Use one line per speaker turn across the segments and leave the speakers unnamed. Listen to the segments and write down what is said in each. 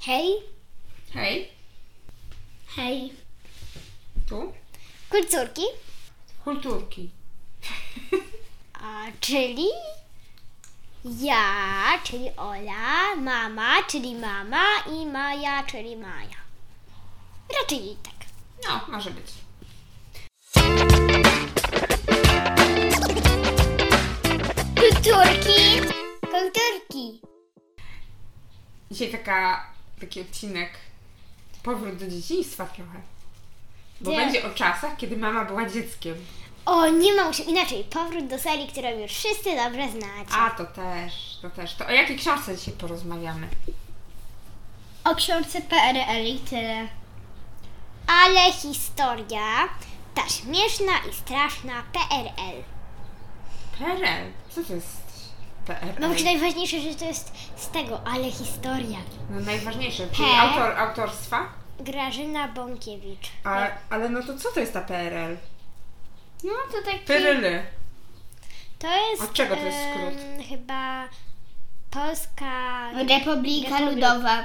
Hej,
Hej,
hej.
tu.
Kulturki,
Kulturki.
a, czyli ja, czyli Ola, mama, czyli mama i Maja, czyli Maja. Raczej tak.
No, może być.
Kulturki, kulturki.
Dzisiaj taka, taki odcinek powrót do dzieciństwa trochę. Bo
Nie.
będzie o czasach, kiedy mama była dzieckiem.
O, nie mam się inaczej. Powrót do serii, którą już wszyscy dobrze znacie.
A, to też, to też. To o jakiej książce dzisiaj porozmawiamy?
O książce PRL i tyle. Ale historia, ta śmieszna i straszna PRL.
PRL. Co to jest PRL?
Mam że No, najważniejsze, że to jest z tego, ale historia.
No najważniejsze, czyli
P.
autor, autorstwa.
Grażyna Bąkiewicz.
A, ale no to co to jest ta PRL?
No to
tak
taki...
Peryly.
To jest...
Od czego to jest skrót?
em, chyba Polska...
No Republika
Republi-
Ludowa.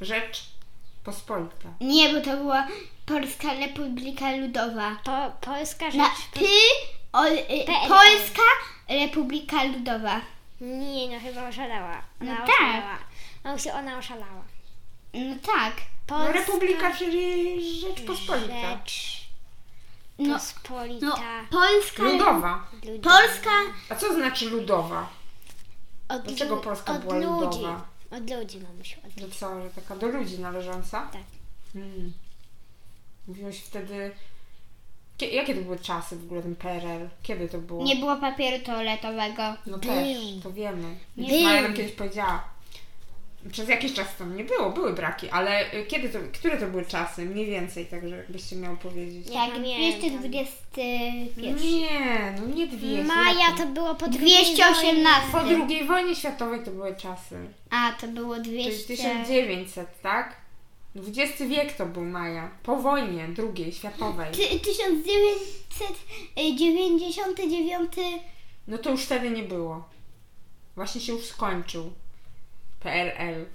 Rzecz pospolita.
Nie, bo to była Polska Republika Ludowa.
Po, Polska rzecz...
Na No, ty, o, y,
PRL.
Polska Republika Ludowa.
Nie, no chyba oszalała. Ona
No tak.
oszalała. No się ona oszalała.
No tak.
No,
Polska
Republika, czyli Rzecz pospolita.
rzecz
No,
pospolita
no Polska.
Ludowa.
ludowa.
Polska.
A co znaczy ludowa?
Od,
Dlaczego
lu-
Polska
od
była
ludzi.
ludowa?
Od ludzi, mamusiu. Od
Że co, że taka do ludzi należąca?
Tak.
Mm. Mówiłeś wtedy... Kie- jakie to były czasy w ogóle, ten PRL? Kiedy to było?
Nie było papieru toaletowego.
No
Był.
też, to wiemy.
Był.
Maja nam kiedyś powiedziała. Przez jakiś czas tam nie było, były braki, ale y, kiedy to, które to były czasy? Mniej więcej, tak żebyście miał powiedzieć.
Nie
Tak,
pamiętam.
221.
Nie, no nie dwie.
Maja
jakie?
to było po drugiej
218.
Po II wojnie światowej to były czasy.
A, to było
Czyli
200.
1900, tak? XX wiek to był Maja. Po wojnie drugiej światowej.
Ty- 1999.
No to już wtedy nie było. Właśnie się już skończył. PRL.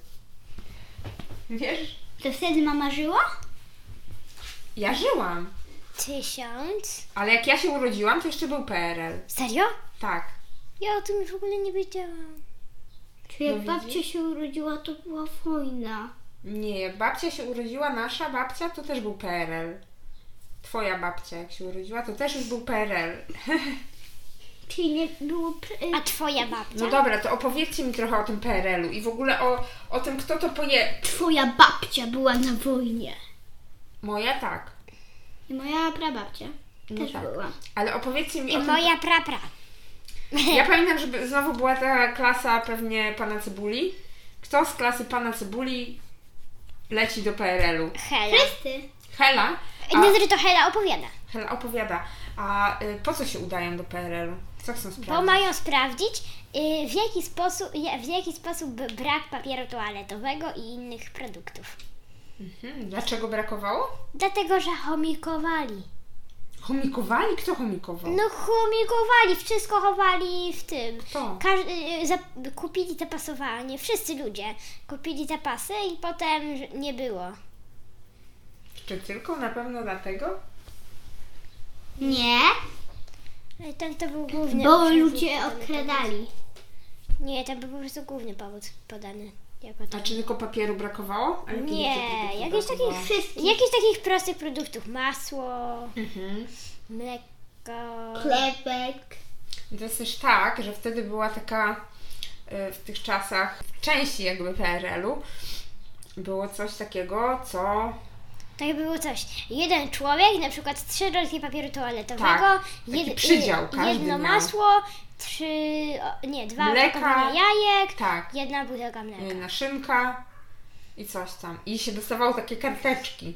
Wiesz?
To wtedy mama żyła?
Ja żyłam.
Tysiąc.
Ale jak ja się urodziłam, to jeszcze był PRL.
Serio?
Tak.
Ja o tym już w ogóle nie wiedziałam.
Czy jak
No
babcia się urodziła, to była wojna.
Nie, jak babcia się urodziła, nasza babcia, to też był PRL. Twoja babcia, jak się urodziła, to też już był PRL.
Czyli nie było. Pre-
A twoja babcia?
No dobra, to opowiedzcie mi trochę o tym PRL-u i w ogóle o, o tym, kto to poje...
e, Twoja babcia była na wojnie.
Moja tak.
I moja prababcia
No
też
tak.
była.
Ale opowiedzcie mi
I
o tym...
moja prapra.
Ja pamiętam, że znowu była ta klasa pewnie Pana Cebuli. Kto z klasy Pana Cebuli leci do PRL-u?
Hela.
Wszyscy.
Hela? A...
No, że to Hela opowiada.
Hela opowiada, a y, po co się udają do PRL-u? Co chcą
Bo
sprawdzić?
mają sprawdzić, y, w jaki sposób, ja- w jaki sposób brak papieru toaletowego i innych produktów.
Mhm, dlaczego brakowało?
Dlatego, że chomikowali.
Chomikowali? Kto chomikował?
No chomikowali, wszystko chowali w tym.
Kto?
Każ- y, zap- kupili zapasowanie, wszyscy ludzie kupili zapasy i potem ż- nie było.
Czy tylko na pewno dlatego?
Nie,
Ale Y, Ten to był główny
bo
przecież
ludzie
ten-
okradali.
Nie, ten był po prostu główny powód podany. Jako
A
ten.
czy tylko papieru brakowało? A jakich
Nie,
jeszcze produktów
jakichś
brakowało?
takich,
Wszystkich.
jakichś takich prostych produktów. Masło,
Mhm.
mleko.
Klepek.
To jest też tak, że wtedy była taka y, w tych czasach, w części jakby PRL-u, było coś takiego, co
Tak było coś. Jeden człowiek, na przykład trzy rolki papieru toaletowego,
Tak. Taki
jed-
przydział
y,
każdy
jedno
miał.
masło, trzy, o, nie, dwa
Mleka.
opakowania jajek,
tak,
jedna butelka
y,
mleka.
naszynka i coś tam. I się dostawało takie karteczki.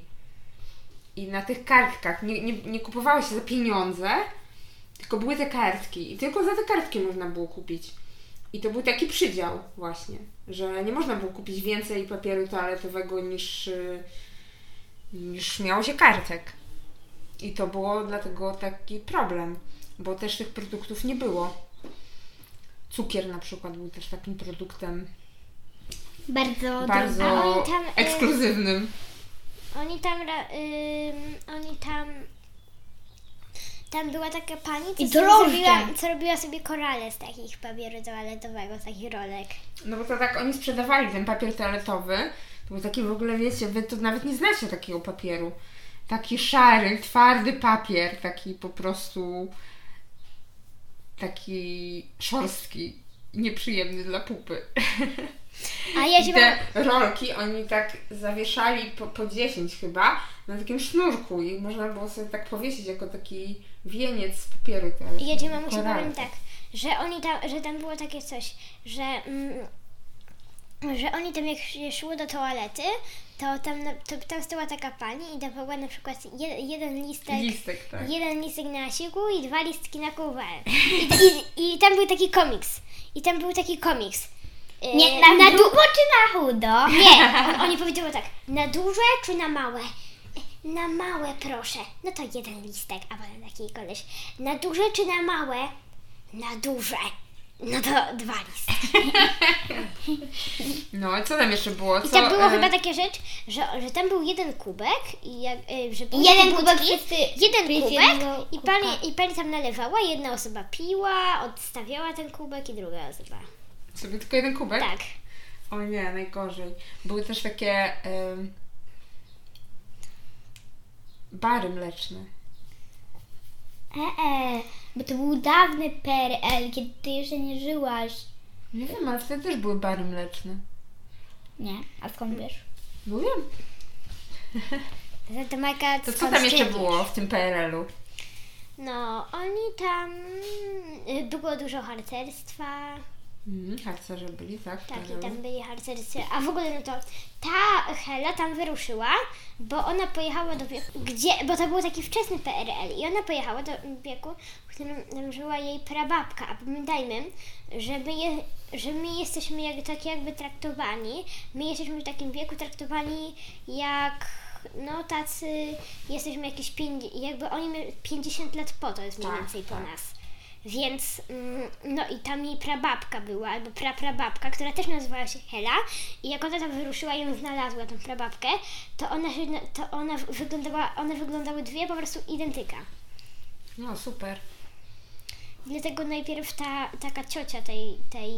I na tych kartkach nie, nie, nie kupowało się za pieniądze, tylko były te kartki. I tylko za te kartki można było kupić. I to był taki przydział właśnie, że nie można było kupić więcej papieru toaletowego niż, y, niż miało się kartek. I to było dlatego taki problem, bo też tych produktów nie było. Cukier na przykład był też takim produktem
Bardzo, droga.
A
bardzo
oni tam, y,
ekskluzywnym.
Oni tam, ra- ym, oni tam, tam była taka pani, co,
I
sobie
drożdże.
zrobiła, co robiła sobie korale z takich papieru toaletowego, z takich rolek.
No bo to tak oni sprzedawali ten papier toaletowy. To był taki w ogóle, wiecie, wy to nawet nie znacie takiego papieru. Taki szary, twardy papier, taki po prostu taki szorstki, nieprzyjemny dla pupy.
A ja się
I te rolki oni tak zawieszali po, po 10 chyba na takim sznurku i można było sobie tak powiesić jako taki wieniec z papieru toaletowego.
I ja ci mamusiu
Koralów.
powiem tak, że oni tam, że tam było takie coś, że, mm, że oni tam jak się szło do toalety, to tam, na- to tam stała taka pani i dawała na przykład jed, jeden listek,
Listek, tak.
jeden listek na siku i dwa listki na kuwel. I, i, I tam był taki komiks. I tam był taki komiks. Yy,
Nie, e, na, na długo czy na chudo?
nie, on, oni powiedziały tak, na duże czy na małe? Na małe proszę. No to jeden listek, a potem taki koleś. Na duże czy na małe? Na duże. No to dwa listy.
No i co tam jeszcze było? Co,
I tam było
e,
chyba tak- takie rzecz, że, że tam był jeden kubek i jak, y, że były
Jeden
te
kubek
budki,
wszyscy
jeden
pijesz
kubek
jednego
i
kubka.
pani, i pani tam nalewała, jedna osoba piła, odstawiała ten kubek i druga osoba.
Sobie tylko jeden kubek?
Tak.
O nie, najgorzej. Były też takie em, bary mleczne.
E, e, bo to był dawny PRL, kiedy ty jeszcze nie żyłaś.
Nie wiem, ale wtedy też były bary mleczne.
Nie, a skąd wiesz?
No wiem.
To, to, Majka,
To co
skąd
tam jeszcze
szczepisz?
było w tym PRL-u?
No, oni tam y, było dużo harcerstwa,
Mhm, harcerze byli, tak? w
tak, i
PRL-u.
tam byli harcerscy, a w ogóle no to ta Hela tam wyruszyła, bo ona pojechała do wieku, gdzie, bo to był taki wczesny PRL i ona pojechała do wieku, w którym tam żyła jej prababka, a pamiętajmy, że my, je, że my jesteśmy jak, tak jakby traktowani, my jesteśmy w takim wieku traktowani jak, no tacy, jesteśmy jakieś, pięć, jakby oni my- 50 lat po to jest mniej
Tak,
więcej po
tak.
nas. Więc, mm, no i tam jej prababka była, albo praprababka, która też nazywała się Hela. I jak ona tam wyruszyła i ją znalazła, tą prababkę, to ona, się, na- to ona w- wyglądała, one wyglądały dwie po prostu identyka.
No super.
Dlatego najpierw ta taka ciocia tej, tej,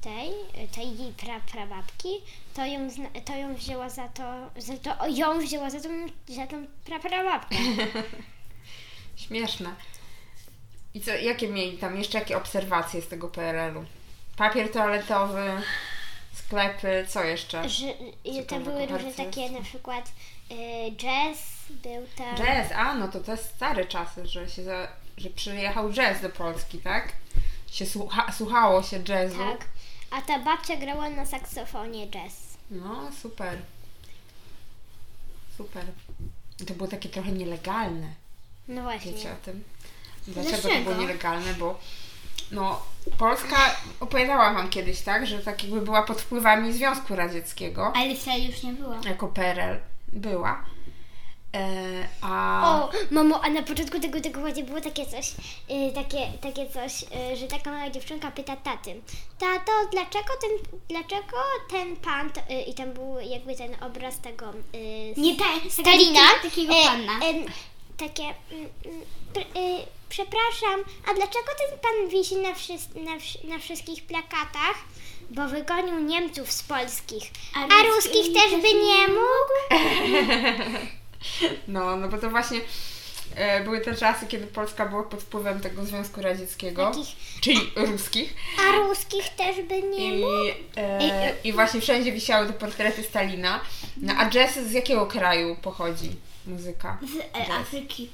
tej, tej jej pra, prababki, to ją, zna- to ją wzięła za to, za to, o, ją wzięła za tą, za tą praprababkę.
Śmieszne. I co, jakie mieli tam jeszcze jakie obserwacje z tego PRL-u? Papier toaletowy, sklepy, co jeszcze?
Że, i tam
Ciekawe,
były różne
bardzo
takie,
jest.
na przykład y, jazz był tam.
Jazz, a no to te stare czasy, że się za, że przyjechał jazz do Polski, tak? Się słucha, słuchało się jazzu.
Tak. A ta babcia grała na saksofonie jazz.
No, super. Super. I To było takie trochę nielegalne,
No właśnie.
wiecie o tym? Dlaczego to
Dlaczego?
było nielegalne? Bo no, Polska, opowiadałam Wam kiedyś, tak, że tak jakby była pod wpływami Związku Radzieckiego,
Ale wtedy już nie była.
jako PRL była. E, a...
O, mamo, a na początku tego tygodnia było takie coś, y, takie, takie coś, y, że taka mała dziewczynka pyta taty, tato, dlaczego ten, dlaczego ten pan, to, y, i tam był jakby ten obraz tego, y,
Nie tak,
Stalina,
Takiego
e,
pana.
em, takie, mm, mm, pr- y, przepraszam, a dlaczego ten pan wisi na, wszys- na, wsz- na wszystkich plakatach? Bo wygonił Niemców z polskich.
A
A,
ruskich
ruskich też by nie mógł?
No, no bo to właśnie e, były te czasy, kiedy Polska była pod wpływem tego Związku Radzieckiego,
Takich-
czyli ruskich.
A ruskich też by nie
I,
mógł?
e, I właśnie wszędzie wisiały te portrety Stalina. No, a jazz z jakiego kraju pochodzi muzyka?
Z e, Afryki.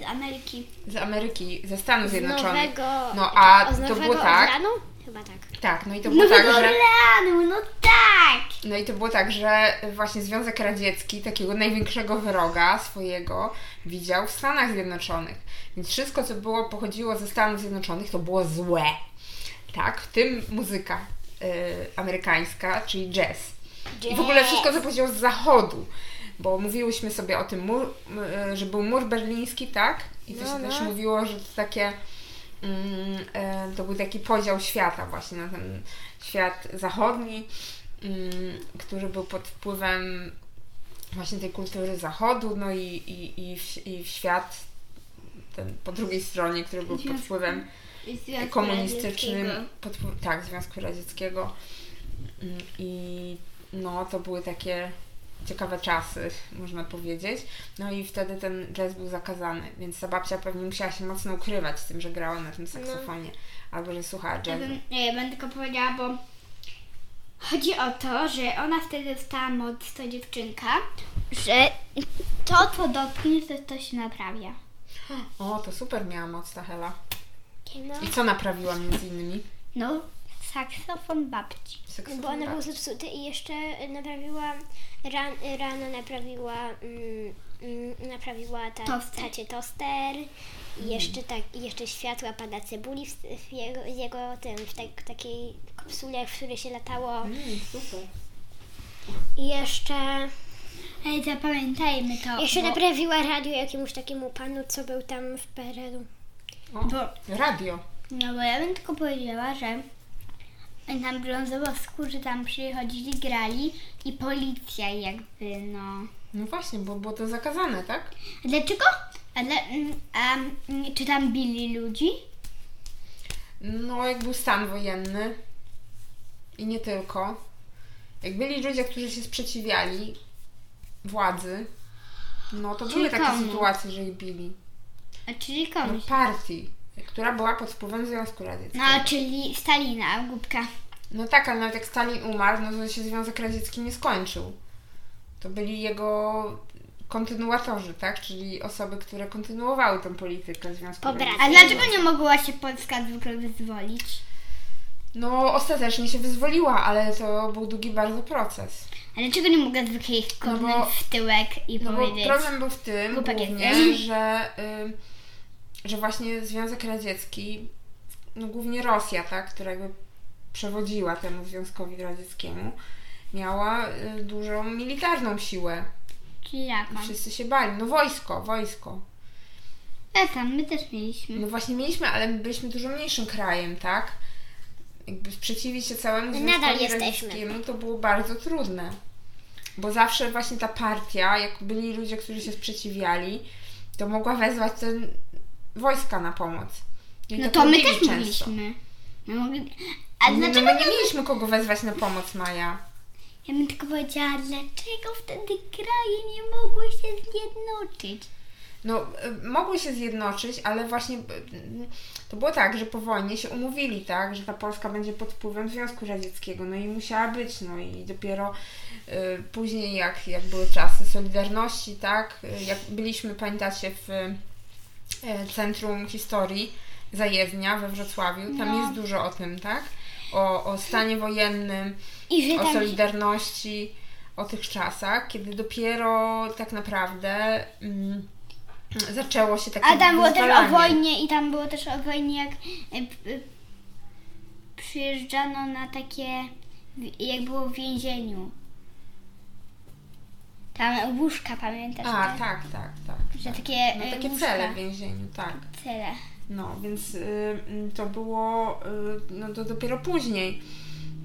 Z Ameryki.
Z Ameryki, ze Stanów
Z
Zjednoczonych.
nowego,
No a
o, z
to
nowego
było tak.
Orlanu? Chyba tak.
Tak, no i to było tak,
Nowego
że
Orleanu, no tak!
No i to było tak, że właśnie Związek Radziecki takiego największego wroga swojego widział w Stanach Zjednoczonych. Więc wszystko, co było, pochodziło ze Stanów Zjednoczonych, to było złe. Tak, w tym muzyka y, amerykańska, czyli jazz. I w ogóle wszystko, co pochodziło z zachodu. Bo mówiłyśmy sobie o e, tym, mur, m, y, że był mur berliński, tak? I to
No,
się
no.
też mówiło, że to takie mm, e, to był taki podział świata właśnie na ten świat zachodni, mm, który był pod wpływem właśnie tej kultury zachodu, no i, i, i, w, i w świat ten po drugiej stronie, który był pod wpływem
Związku
komunistycznym,
Radzieckiego.
pod, tak, Związku Radzieckiego. Mm, I no, to były takie ciekawe czasy, można powiedzieć. No i wtedy ten jazz był zakazany, więc ta babcia pewnie musiała się mocno ukrywać z tym, że grała na tym saksofonie, albo że słuchała
No. Ja
jazzu.
bym, nie, będę tylko powiedziała, bo chodzi o to, że ona wtedy dostała moc, to dziewczynka, że to, co dotkniesz, to, to się naprawia.
O, to super miała moc ta Hela.
No,
I co naprawiła między innymi?
No, saksofon babci.
Saksofon,
bo one
tak?
były zepsute i jeszcze naprawiła, ran, rano naprawiła, mm, mm, naprawiła ta,
Toster.
tacie toster i jeszcze, tak, i jeszcze światła pada cebuli w, w jego, z jego tym, w tak, takiej kapsule, w której się latało
Mm, super.
i jeszcze...
Ej, No zapamiętajmy to.
Jeszcze
bo,
naprawiła radio jakiemuś takiemu panu, co był tam w PRL-u.
O, radio.
No, bo ja bym tylko powiedziała, że tam brązowo-skórzy tam przychodzili, grali i policja jakby, no.
No właśnie, bo było to zakazane, tak?
A dlaczego? Ale, mm, a, mm, czy tam bili ludzi?
No, jak był stan wojenny i nie tylko. Jak byli ludzie, którzy się sprzeciwiali władzy, no to były takie
Kilkoma.
sytuacje, że ich bili.
A czyli
No,
komuś?
partii, która była pod wpływem Związku Radzieckiego.
No, czyli Stalina, głupka.
No tak, ale nawet jak Stalin umarł, no to się Związek Radziecki nie skończył. To byli jego kontynuatorzy, tak? Czyli osoby, które kontynuowały tę politykę Związku
Pobrane.
Radzieckiego.
A dlaczego nie mogła się Polska zwykle wyzwolić?
No, ostatecznie się wyzwoliła, ale to był długi bardzo proces.
A dlaczego nie mogła zwykle ich kopnąć
No bo-
w tyłek i
No bo
powiedzieć?
problem był w tym
Chłopak
głównie,
jesteś.
że, ym, że właśnie Związek Radziecki, no głównie Rosja, tak, która jakby przewodziła temu Związkowi Radzieckiemu, miała y, dużą militarną siłę.
Czyli jaką?
I wszyscy się bali. No wojsko, wojsko.
Ja tam, my też mieliśmy.
No właśnie mieliśmy, ale my byliśmy dużo mniejszym krajem, tak? Jakby sprzeciwić się całemu
My
Związkowi
nadal jesteśmy.
Radzieckiemu to było bardzo trudne. Bo zawsze właśnie ta partia, jak byli ludzie, którzy się sprzeciwiali, to mogła wezwać ten wojska na pomoc. I
No
tak
to my
robili
też
często.
mieliśmy. No, mogli... A
Nie,
dlaczego
No my nie mieliśmy kogo wezwać na pomoc, Maja.
Ja bym tylko powiedziała, dlaczego wtedy kraje nie mogły się zjednoczyć?
No, y, mogły się zjednoczyć, ale właśnie y, y, to było tak, że po wojnie się umówili, tak, że ta Polska będzie pod wpływem Związku Radzieckiego, no i musiała być, no i dopiero y, później, jak, jak były czasy Solidarności, tak, y, jak byliśmy, pamiętacie, w y, Centrum Historii Zajezdnia we Wrocławiu, tam
No.
jest dużo o tym, tak, o, o stanie wojennym,
I że
o
tam
Solidarności, o tych czasach, kiedy dopiero tak naprawdę mm, zaczęło się takie
A tam było też o
wyzwalanie.
wojnie i tam było też o wojnie, jak y, p- y, przyjeżdżano na takie, wi- jak było w więzieniu. Tam łóżka, pamiętasz?
A, tak,
te-
tak, tak. tak.
Że takie,
No,
y,
takie
łóżka.
cele w więzieniu, tak.
Cele.
No, więc y, mm, to było, y, no to dopiero później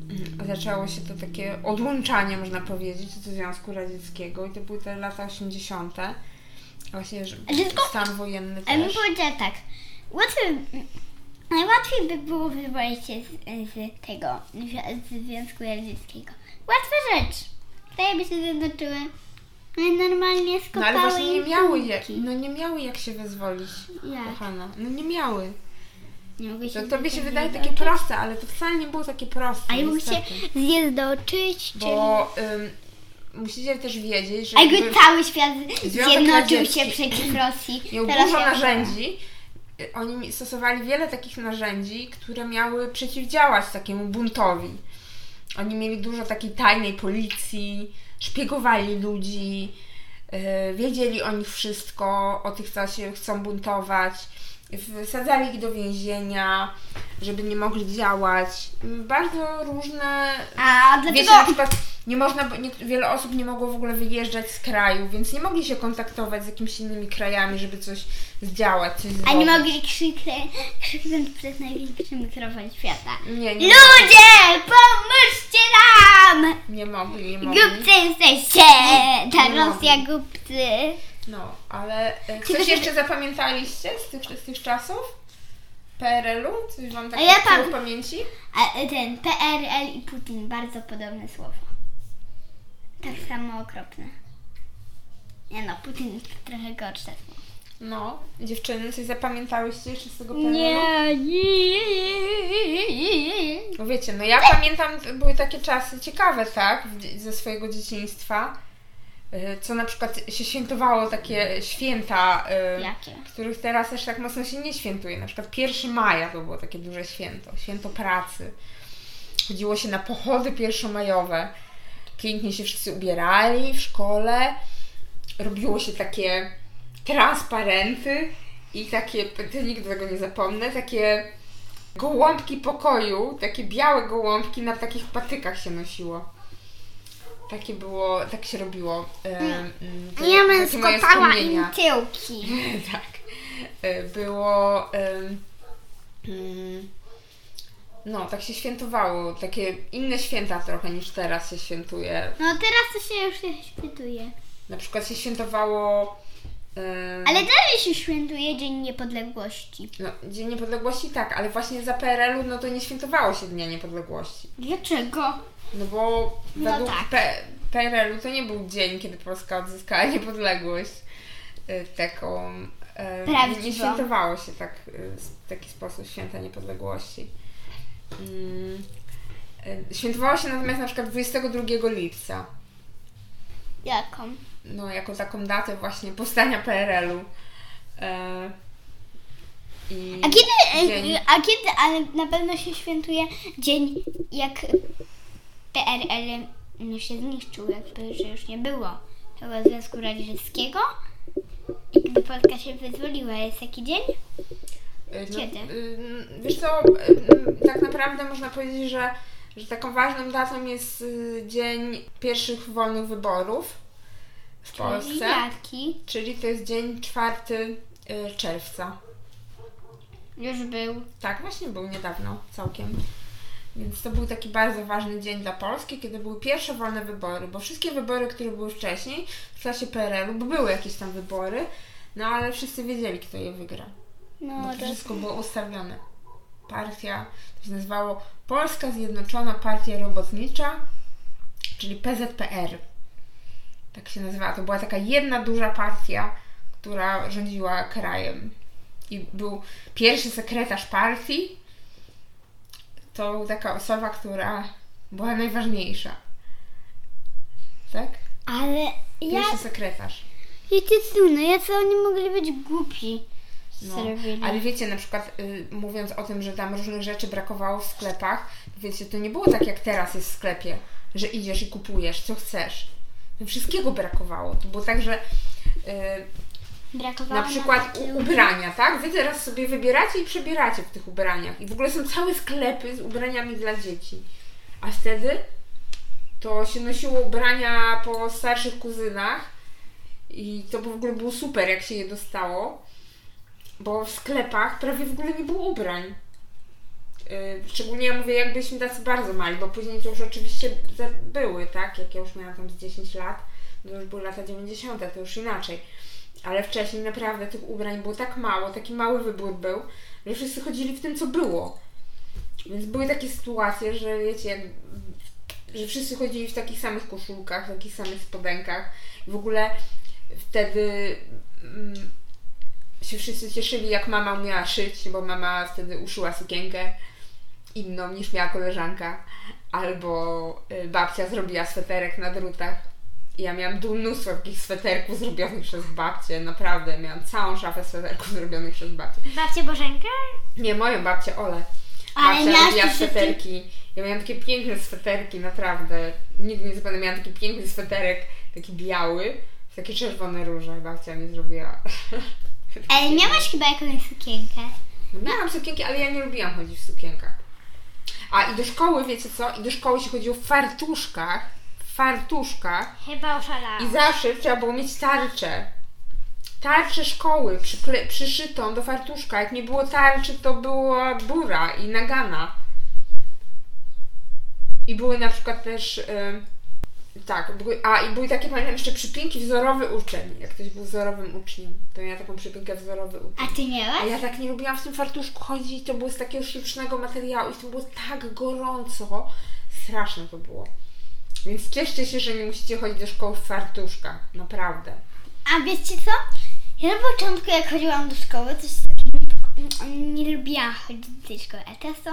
mm, zaczęło się to takie odłączanie, można powiedzieć, od Związku Radzieckiego i to były te lata 80. Właśnie, że
Ale tylko-
stan wojenny
A ja bym
też.
powiedziała tak, łatwiej, by- najłatwiej by było wywołać się z, z tego, z Związku Radzieckiego. Łatwa rzecz. Kraje by się zjednoczyły. No i normalnie
No
skopały
ale właśnie nie
im
miały,
półki.
jak, no nie miały jak się wyzwolić,
Jak?
kochana. No nie miały.
Tak. Nie mogły
No To
się
tobie się wydaje
zjednoczyć.
takie proste, ale to wcale nie było takie proste.
A ja mogę się
niestety.
zjednoczyć, czyli...
Bo ym, musicie też wiedzieć, że
A jakby
jakby
cały świat
Związek
zjednoczył
Radziecki
się przeciw Rosji.
miał
Teraz
dużo
ja-
narzędzi. y, Oni mi- stosowali wiele takich narzędzi, które miały przeciwdziałać takiemu buntowi. Oni mieli dużo takiej tajnej policji, szpiegowali ludzi, y, wiedzieli o nich wszystko, o tych, co się chcą buntować, wsadzali ich do więzienia, żeby nie mogli działać. Bardzo różne
A dlaczego...
Wiecie, na przykład nie można, bo nie, wiele osób nie mogło w ogóle wyjeżdżać z kraju, więc nie mogli się kontaktować z jakimiś innymi krajami, żeby coś zdziałać, coś
A nie
zrobić.
mogli krzyknę- krzyknąć przez największy mikrofon świata.
Nie, nie,
Ludzie, pomóżcie nam!
nie mogli, nie mogli.
Głupcy jesteście! Ta
Nie
Rosja głupcy.
No, ale e,
Ciebie
coś
się-
jeszcze zapamiętaliście z tych, z tych czasów? PRL-u? Coś Wam tak
A ja
tkwiło
pam-
w pamięci?
A ten PRL i Putin, bardzo podobne słowo. Tak samo okropne. Nie no, Putin trochę gorsze słowo.
No, dziewczyny, coś zapamiętałyście jeszcze z tego PRL-u?
Nie, nie.
No wiecie, no ja pamiętam, były takie czasy ciekawe, tak, w dzie- ze swojego dzieciństwa, y, co na przykład się świętowało takie święta, y,
Jakie?
których teraz aż tak mocno się nie świętuje. Na przykład 1 maja to było takie duże święto, święto pracy. Chodziło się na pochody pierwszomajowe. Pięknie się wszyscy ubierali w szkole. Robiło się takie transparenty i takie, to nigdy tego nie zapomnę, takie gołąbki pokoju, takie białe gołąbki na takich patykach się nosiło. Takie było, tak się robiło. em, mm, to-
Ja bym
takie moje
skopała
wspomnienia.
im tyłki.
tak. E, Było. em, mm, No, tak się świętowało. Takie inne święta trochę niż teraz się świętuje.
No teraz to się już nie świętuje.
Na przykład się świętowało. em,
Ale dalej się świętuje Dzień Niepodległości.
No, Dzień Niepodległości tak, ale właśnie za PRL-u no to nie świętowało się Dnia Niepodległości.
Dlaczego?
No bo
No
według
tak.
P- PRL-u to nie był dzień, kiedy Polska odzyskała niepodległość. E, Taką. e,
Prawdziwą.
Nie świętowało się tak, e, s- w taki sposób święta niepodległości. Mm, e, Świętowało się natomiast na przykład 22 lipca.
Jaką?
No, jako taką datę właśnie powstania PRL-u. E, I
A kiedy, e,
dzień-
a kiedy, ale na pewno się świętuje dzień, jak PRL no, się zniszczył, jakby, że już nie było chyba Związku Radzieckiego. I gdy Polska się wyzwoliła, jest taki dzień?
Y, no,
Kiedy?
y, Wiesz co, y, tak naprawdę można powiedzieć, że, że taką ważną datą jest y, dzień pierwszych wolnych wyborów w
Czyli
Polsce,
jaki?
czyli to jest dzień 4 y, czerwca.
Już był.
Tak, właśnie był niedawno całkiem. Więc to był taki bardzo ważny dzień dla Polski, kiedy były pierwsze wolne wybory, bo wszystkie wybory, które były wcześniej, w czasie PRL-u, bo były jakieś tam wybory, no ale wszyscy wiedzieli, kto je wygra.
No,
To wszystko było ustawione. Partia, to się nazywało Polska Zjednoczona Partia Robotnicza, czyli PZPR. Tak się nazywała. To była taka jedna duża partia, która rządziła krajem. I był pierwszy sekretarz partii. To był taka osoba, która była najważniejsza. Tak?
ale
Pierwszy sekretarz.
Wiecie co, no jacy oni mogli być głupi.
No,
Zrobili.
ale wiecie, na przykład y, mówiąc o tym, że tam różnych rzeczy brakowało w sklepach, wiecie, to nie było tak jak teraz jest w sklepie, że idziesz i kupujesz, co chcesz. No, Wszystkiego brakowało. To było tak, że y,
Brakowało
na przykład u, ubrania, tak? Wy teraz sobie wybieracie i przebieracie w tych ubraniach. I w ogóle są całe sklepy z ubraniami dla dzieci. A wtedy to się nosiło ubrania po starszych kuzynach i to w ogóle było super, jak się je dostało, bo w sklepach prawie w ogóle nie było ubrań. Yy, Szczególnie ja mówię, jak byliśmy tacy bardzo mali, bo później to już oczywiście za- były, tak? Jak ja już miałam tam z 10 lat, to już były lata 90., to już inaczej. Ale wcześniej naprawdę tych ubrań było tak mało, taki mały wybór był, że wszyscy chodzili w tym, co było. Więc były takie sytuacje, że wiecie, jak, że wszyscy chodzili w takich samych koszulkach, w takich samych spodenkach. I w ogóle wtedy mm, się wszyscy cieszyli, jak mama umiała szyć, bo mama wtedy uszyła sukienkę inną niż miała koleżanka, albo y, babcia zrobiła sweterek na drutach. I Ja miałam du- mnóstwo takich sweterków zrobionych przez babcię, naprawdę. Miałam całą szafę sweterków zrobionych przez babcię.
Babcie Bożenka?
Nie, moją babcię Olę.
Ale
Babcia
miałaś
robiła
też jeszcze-
sweterki. Ja miałam takie piękne sweterki, naprawdę. Nigdy nie zapomnę, miałam taki piękny sweterek, taki biały, w takie czerwone róże babcia mi zrobiła.
Ale miałaś chyba jakąś sukienkę.
No Miałam sukienki, ale ja nie lubiłam chodzić w sukienkach. A i do szkoły, wiecie co? I do szkoły się chodziło w fartuszkach. W fartuszkach
Chyba oszalała.
i zawsze trzeba było mieć tarczę. Tarczę szkoły przykle- przyszytą do fartuszka. Jak nie było tarczy, to była bura i nagana. I były na przykład też. em, tak, były, a i były takie, pamiętam, jeszcze przypinki wzorowy uczeń. Jak ktoś był wzorowym uczniem, to miała taką przypinkę wzorowy uczeń.
A ty miałaś?
A ja tak nie lubiłam w tym fartuszku chodzić, to było z takiego sztucznego materiału i to było tak gorąco. Straszne to było. Więc cieszcie się, że nie musicie chodzić do szkoły w fartuszkach. Naprawdę.
A wiecie co? Ja na początku jak chodziłam do szkoły, coś takiego nie, nie lubiłam chodzić do tej szkoły, a teraz to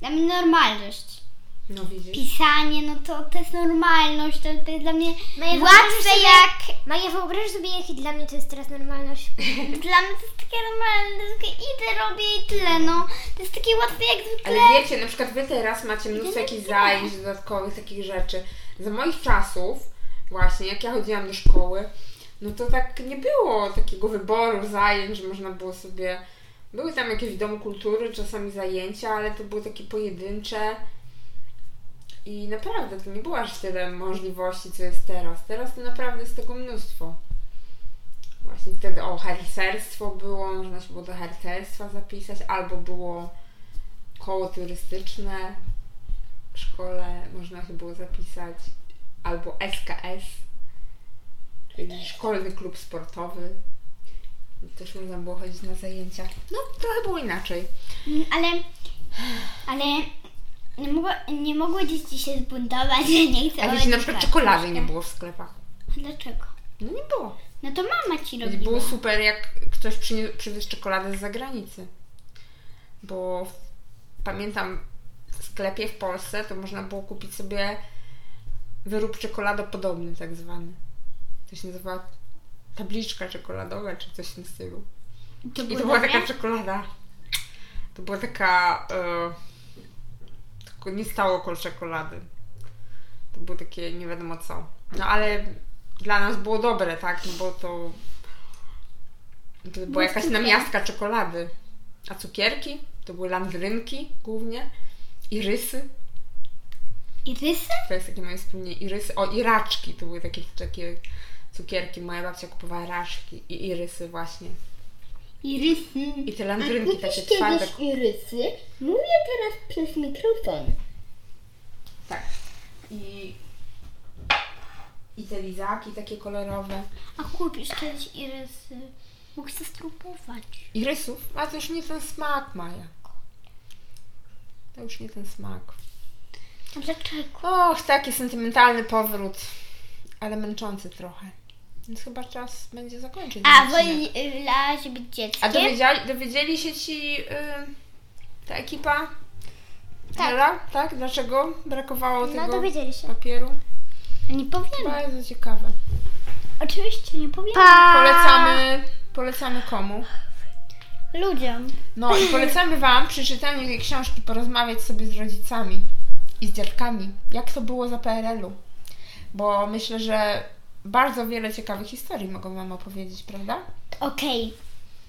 dla mnie normalność.
No widzisz?
Pisanie, no to, to jest normalność, to, to jest dla mnie
No
Maja, wyobraź
łatwe
sobie-
jak...
Maja, wyobraź sobie, jaki dla mnie to jest teraz normalność.
Dla mnie to jest takie normalne, to jest takie idę, robię i tyle, no. To jest takie łatwe jak zwykle.
Ale wiecie, na przykład wy teraz macie mnóstwo jakichś zajęć dodatkowych, takich rzeczy. Za moich czasów, właśnie, jak ja chodziłam do szkoły, no to tak nie było takiego wyboru zajęć, że można było sobie... Były tam jakieś w Domu Kultury czasami zajęcia, ale to były takie pojedyncze. I naprawdę, to nie było aż tyle możliwości, co jest teraz. Teraz to naprawdę jest tego mnóstwo. Właśnie wtedy, o, harcerstwo było, można się było do harcerstwa zapisać, albo było koło turystyczne w szkole można się było zapisać, albo SKS, czyli Szkolny Klub Sportowy. Też można było chodzić na zajęcia. No, trochę było inaczej.
Mm, Ale, ale nie, mogło, nie mogły dzieci się zbuntować, że nie chcą
A wiecie, na
chodzić
przykład
w
czekolady nie
parku.
było w sklepach.
Dlaczego?
No nie było.
No to mama ci
Więc
robiła.
było super, jak ktoś przynie- przywiózł czekoladę z zagranicy. Bo w- pamiętam, w sklepie w Polsce to można było kupić sobie wyrób czekoladopodobny tak zwany. To się nazywała tabliczka czekoladowa czy coś w tym stylu.
To
I
było
to była
dobre?
taka czekolada. To była taka... E, tylko nie stało koło czekolady. To było takie nie wiadomo co. No ale dla nas było dobre, tak? No bo to... To była jakaś
cukier.
namiastka czekolady. A cukierki? To były landrynki głównie. I rysy.
I rysy?
To jest takie moje wspomnienie. I rysy. O, i raczki. To były takie, takie cukierki. Moja babcia kupowała raczki i irysy właśnie.
I rysy.
I te landrynki takie
Kupisz
twarde.
kiedyś irysy? Mówię teraz przez mikrofon.
Tak. I, i te lizaki takie kolorowe.
A kupisz kiedyś irysy? Mógł się spróbować.
I rysów. A to już nie ten smak, Maja. To już nie ten smak.
A dlaczego?
Och, taki sentymentalny powrót. Ale męczący trochę. Więc chyba czas będzie zakończyć.
A,
ten odcinek.
wolała się być dzieckiem?
A dowiedzieli, dowiedzieli się ci y, ta ekipa?
Tak.
Ela? tak? Dlaczego brakowało
No,
tego
dowiedzieli się.
papieru?
Nie powiem.
Bardzo ciekawe.
Oczywiście nie powiem.
Polecamy, polecamy komu?
Ludziom.
No i polecamy Wam przy czytaniu tej książki porozmawiać sobie z rodzicami i z dziadkami, jak to było za PRL-u. Bo myślę, że bardzo wiele ciekawych historii mogą Wam opowiedzieć, prawda?
Okej.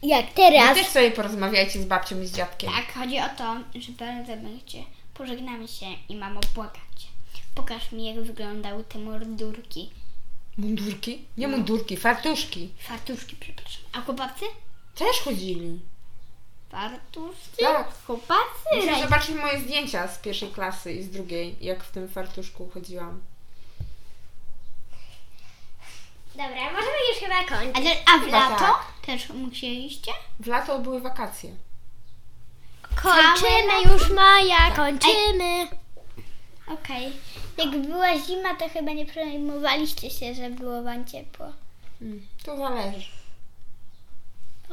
Jak
Wy
teraz?
też sobie porozmawiajcie z babcią i z dziadkiem.
Tak, chodzi o to, że bardzo będzie. Pożegnamy się i mamo błagać. Pokaż mi, jak wyglądały te mordurki.
Mundurki? Nie mundurki, fartuszki.
Fartuszki, przepraszam. A chłopacy?
Też chodzili.
Fartuszki?
Tak.
Chłopacy?
Muszę
Raj-
zobaczyć moje zdjęcia z pierwszej klasy i z drugiej, jak w tym fartuszku chodziłam.
Dobra, możemy już chyba kończyć.
Ale, a w
Chyba
lato
tak.
też musieliście?
W lato były wakacje.
Kończymy już, Maja, kończymy.
Okej. Jak była zima, to chyba nie przejmowaliście się, że było wam ciepło.
Mm, To zależy.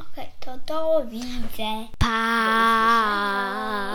Okej, to do widzenia.
Pa.